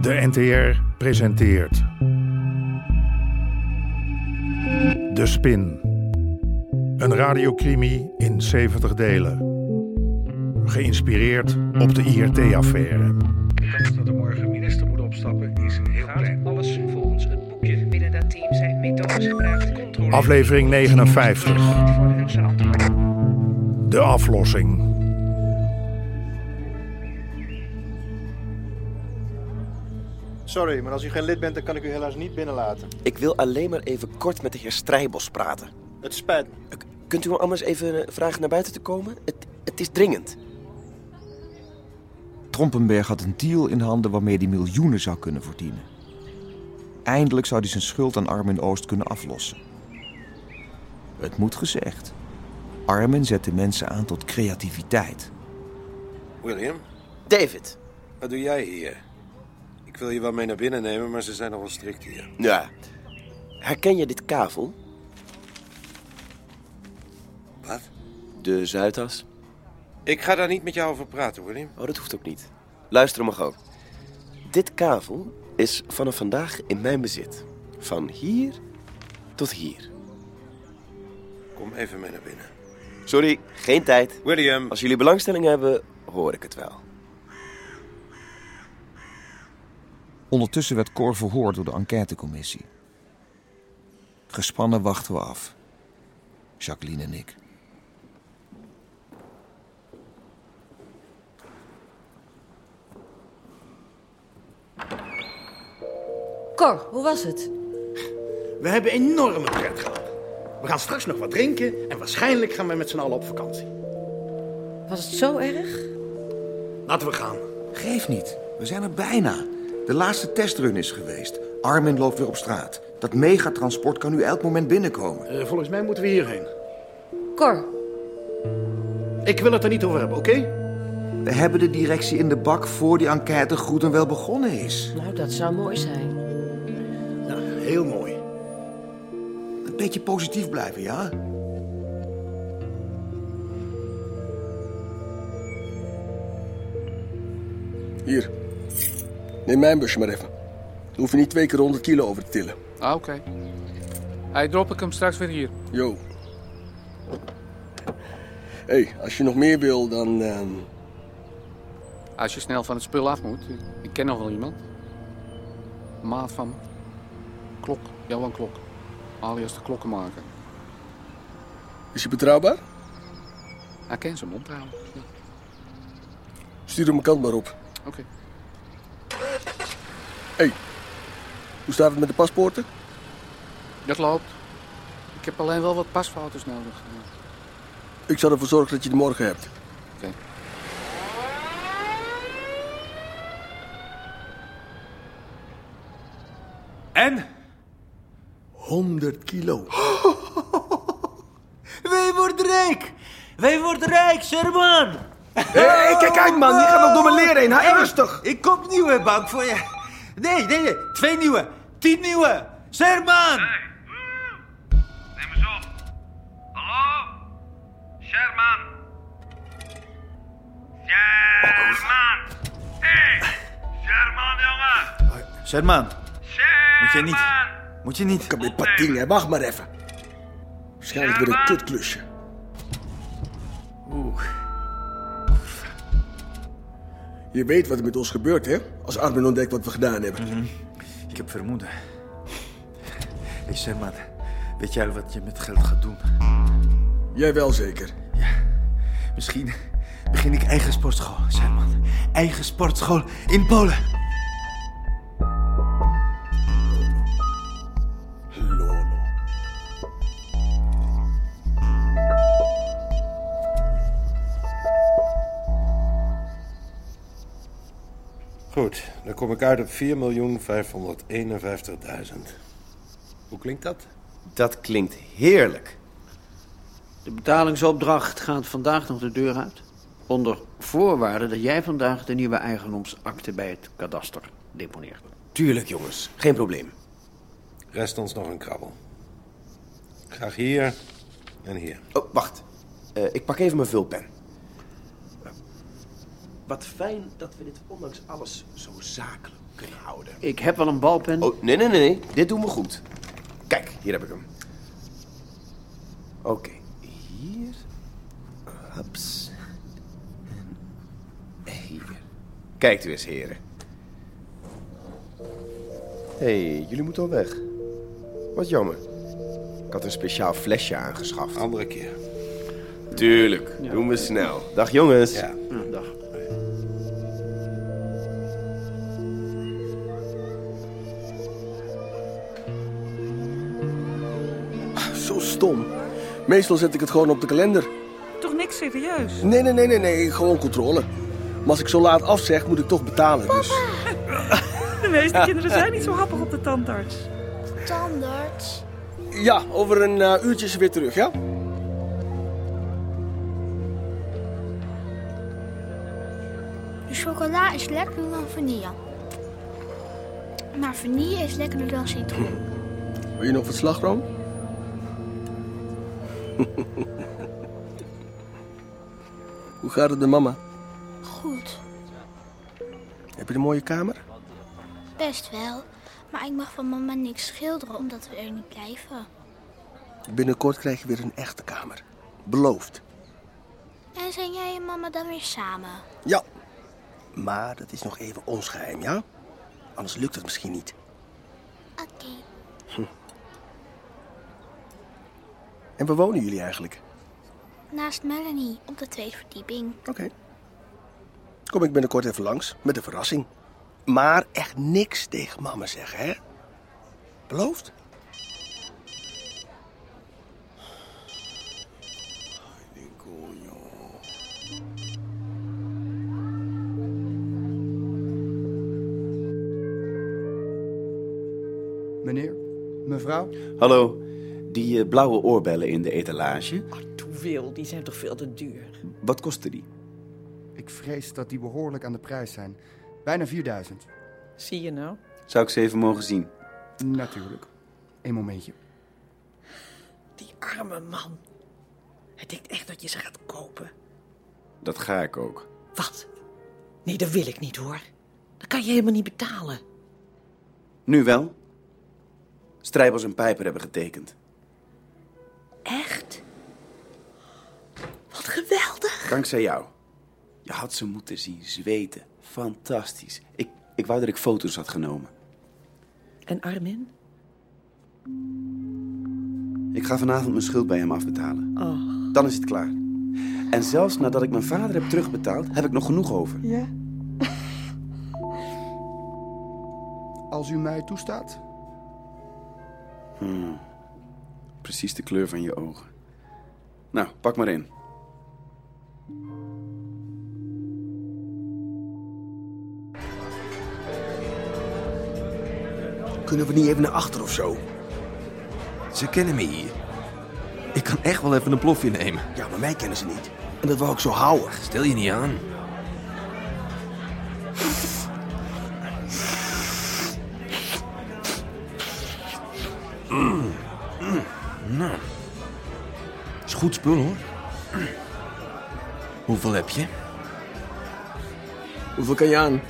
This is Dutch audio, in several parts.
De NTR presenteert. De Spin. Een radiocrimi in 70 delen. Geïnspireerd op de IRT-affaire. De kans dat er morgen minister moet opstappen is heel klein. Alles volgens het boekje. Binnen dat team zijn methodes gebruikt. Controle. Aflevering 59. Voor hun verantwoording. De aflossing. Sorry, maar als u geen lid bent, dan kan ik u helaas niet binnenlaten. Ik wil alleen maar even kort met de heer Strijbos praten. Het spijt me. K- Kunt u hem anders even eh, vragen naar buiten te komen? Het, het is dringend. Trompenberg had een deal in handen waarmee hij miljoenen zou kunnen verdienen. Eindelijk zou hij zijn schuld aan Armin Oost kunnen aflossen. Het moet gezegd. Armin zette mensen aan tot creativiteit. William, David. wat doe jij hier? Ik wil je wel mee naar binnen nemen, maar ze zijn nogal strikt hier. Ja. Herken je dit kavel? Wat? De Zuidas? Ik ga daar niet met jou over praten, William. Oh, dat hoeft ook niet. Luister maar gewoon. Dit kavel is vanaf vandaag in mijn bezit. Van hier tot hier. Kom even mee naar binnen. Sorry, geen tijd. William, Als jullie belangstelling hebben, hoor ik het wel. Ondertussen werd Cor verhoord door de enquêtecommissie. Gespannen wachten we af. Jacqueline en ik. Cor, hoe was het? We hebben enorme pret gehad. We gaan straks nog wat drinken en waarschijnlijk gaan we met z'n allen op vakantie. Was het zo erg? Laten we gaan. Geef niet, we zijn er bijna. De laatste testrun is geweest. Armin loopt weer op straat. Dat megatransport kan nu elk moment binnenkomen. Eh, volgens mij moeten we hierheen. Cor, Ik wil het er niet over hebben, oké? We hebben de directie in de bak voor die enquête goed en wel begonnen is. nou dat zou mooi zijn. Nou, heel mooi. Een beetje positief blijven, ja? Hier. Neem mijn busje maar even. Dan hoef je niet twee keer 100 kilo over te tillen. Ah, oké. Hij drop ik hem straks weer hier. Yo. Hé, hey, als je nog meer wil, dan... ehm, Als je snel van het spul af moet. Ik- Ik ken nog wel iemand. Maat van me. Klok. Johan Klok. Alias de klokkenmaker. is je betrouwbaar? Hij kent zijn mond houden. Ja, Stuur hem mijn kant maar op. Oké. Hoe staat het met de paspoorten? Dat loopt. Ik heb alleen wel wat pasfoto's nodig. Ja. Ik zal ervoor zorgen dat je die morgen hebt. Oké. En? 100 kilo. Wij worden rijk! Wij worden rijk, Sherman! kijk, kijk man, die gaat nog door mijn leer heen. Hou rustig. Ik koop nieuwe bank voor je. Nee, nee, nee, twee nieuwe. Tien nieuwe. Sherman! Neem eens op. Hallo? Sherman. Sherman. Hé, Sherman, jongen. Sherman, Sherman. moet je niet. Moet je niet. Ik heb weer pating, hè. Wacht maar even. Waarschijnlijk weer een kutklusje. Oeh. Je weet wat er met ons gebeurt, hè? Als Armin ontdekt wat we gedaan hebben. Ik heb vermoeden. Hé, hey, Sherman. Weet jij wat je met geld gaat doen? Jij wel zeker. Misschien begin ik eigen sportschool, Sherman. Eigen sportschool in Polen. Lolo. goed. Dan kom ik uit op 4.551.000. Hoe klinkt dat? Dat klinkt heerlijk. De betalingsopdracht gaat vandaag nog de deur uit. Onder voorwaarde dat jij vandaag de nieuwe eigendomsakte bij het kadaster deponeert. Tuurlijk, jongens. Geen probleem. Rest ons nog een krabbel. Graag hier en hier. Oh, wacht. Eh, ik pak even mijn vulpen. Wat fijn dat we dit ondanks alles zo zakelijk kunnen houden. Ik heb wel een balpen. Oh, nee, nee, nee, nee. Dit doen we goed. Kijk, hier heb ik hem. Oké, hier. Hups. En hier. Kijkt u eens, heren. Hé, hey, jullie moeten al weg. Wat jammer. Ik had een speciaal flesje aangeschaft. Andere keer. Tuurlijk, doen we snel. Dag jongens. Ja. dag. Zo stom. Meestal zet ik het gewoon op de kalender. Toch niks serieus? Nee, nee, nee, nee, nee. Gewoon controle. Maar als ik zo laat afzeg, moet ik toch betalen. Dus. De meeste kinderen zijn niet zo happig op de tandarts. Tandarts. Ja, over een eh, uurtje is ze weer terug, ja? De chocola is lekkerder dan vanille. Maar vanille is lekkerder dan citroen. Hm. Wil je nog wat slagroom? Hoe gaat het de mama? Goed, Heb je een mooie kamer? best wel. Maar ik mag van mama niks schilderen omdat we er niet blijven. Binnenkort krijg je weer een echte kamer. Beloofd. En zijn jij en mama dan weer samen? Ja. Maar dat is nog even ons geheim, ja? Anders lukt het misschien niet. Oké. Hm. En waar wonen jullie eigenlijk? Naast Melanie op de tweede verdieping. Oké. Kom ik binnenkort even langs met een verrassing. Maar echt niks tegen mama zeggen, hè? Beloofd? Meneer, mevrouw. Hallo. Die eh, blauwe oorbellen in de etalage, Hoeveel? Die zijn toch veel te duur? wat kostte die? Ik vrees dat die behoorlijk aan de prijs zijn. Bijna 4000. Zie je nou? Zou ik ze even mogen zien? Natuurlijk. Een momentje. Die arme man. Hij denkt echt dat je ze gaat kopen. Dat ga ik ook. Wat? Nee, dat wil ik niet hoor. Dat kan je helemaal niet betalen. Nu wel. Strijbers en Pijper hebben getekend. Echt? Wat geweldig. Dankzij jou. Je had ze moeten zien zweten. Fantastisch. Ik, ik wou dat ik foto's had genomen. En Armin? Ik ga vanavond mijn schuld bij hem afbetalen. Oh. Dan is het klaar. En zelfs nadat ik mijn vader heb terugbetaald, heb ik nog genoeg over. Ja. Als u mij toestaat. Hmm. Precies de kleur van je ogen. Nou, pak maar in. Kunnen we niet even naar achter of zo? Ze kennen me hier. Ik kan echt wel even een plofje nemen. Ja, maar mij kennen ze niet. En dat wou ik zo houden. Stel je niet aan. Mm. Mm. Nou. Is goed spul hoor. Hoeveel heb je? Hoeveel kan je aan?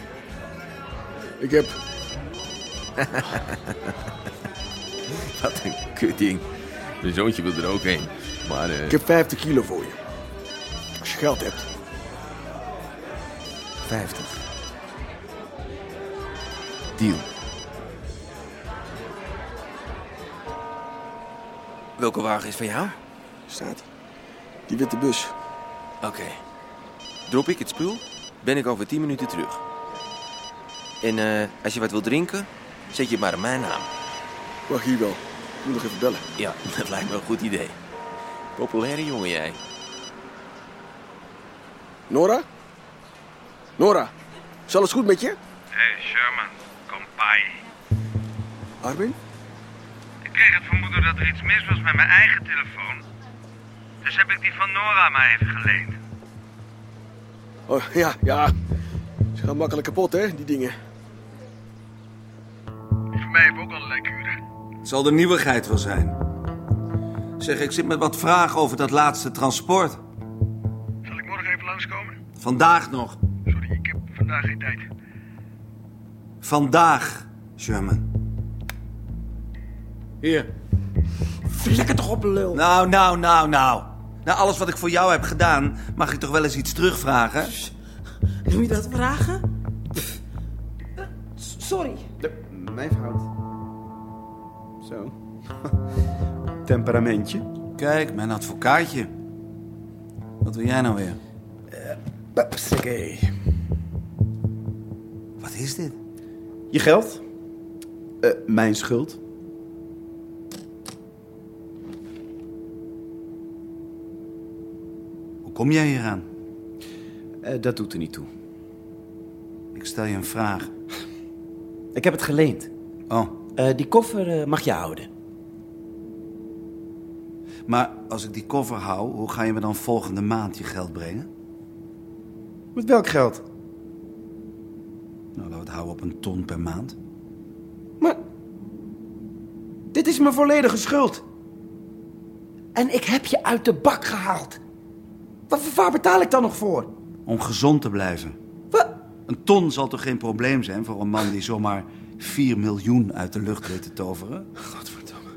Ik heb... Wat een kutding. Mijn zoontje wil er ook heen. Maar eh Ik heb 50 kilo voor je. Als je geld hebt. 50. Deal. Welke wagen is van jou? Staat Die witte bus. Oké. Drop ik het spul, ben ik over 10 minuten terug. En eh, als je wat wil drinken, zet je het maar in mijn naam. Wacht hier wel. Ik moet nog even bellen. Ja, dat lijkt me een goed idee. Populaire jongen jij. Nora? Nora, is alles goed met je? hey, Sherman, kompai. Armin? Ik kreeg het vermoeden dat er iets mis was met mijn eigen telefoon. Dus heb ik die van Nora maar even geleend. Oh, ja, ja. Ze gaan makkelijk kapot, hè, die dingen. Voor mij hebben ook al lekker uren. Het zal de nieuwigheid wel zijn. Zeg, ik zit met wat vragen over dat laatste transport. Zal ik morgen even langskomen? Vandaag nog. Vandaag geen tijd. Vandaag, Sherman. Hier. Flikker toch op, lul. Nou, nou, nou, nou. Na alles wat ik voor jou heb gedaan, mag ik toch wel eens iets terugvragen? Moet je dat vragen? Pff. Eh, s- Sorry. Mijn fout. Zo. Temperamentje. Kijk, mijn advocaatje. Wat wil jij nou weer? Papsakee. Wat is dit? Je geld? Eh, mijn schuld. Hoe kom jij hier aan? Eh, dat doet er niet toe. Ik stel je een vraag. Ik heb het geleend. Oh. die koffer eh, mag je houden. Maar als ik die koffer hou, hoe ga je me dan volgende maand je geld brengen? Met welk geld? Nou, laten we het houden op een ton per maand. Dit is mijn volledige schuld. En ik heb je uit de bak gehaald. Wat voor waar betaal ik dan nog voor? Om gezond te blijven. Een ton zal toch geen probleem zijn voor een man die zomaar 4 miljoen uit de lucht weet te toveren? Godverdomme.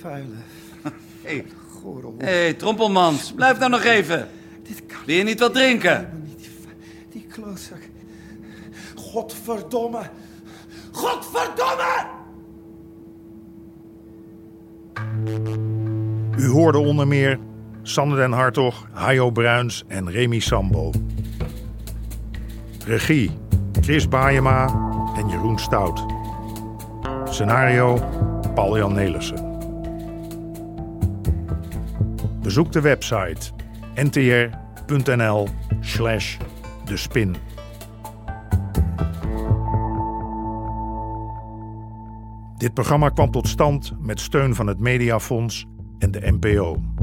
Vuile. Hé, hey. trompelmans, blijf nou nog even. Wil je niet wat drinken? Die klootzak. Godverdomme. Godverdomme! U hoorde onder meer Sander den Hartog, Hajo Bruins en Remy Sambo. Regie Chris Baayema en Jeroen Stout. Scenario Paul-Jan Nelissen. Bezoek de website ntr.nl slash de spin. Dit programma kwam tot stand met steun van het Mediafonds en de NPO.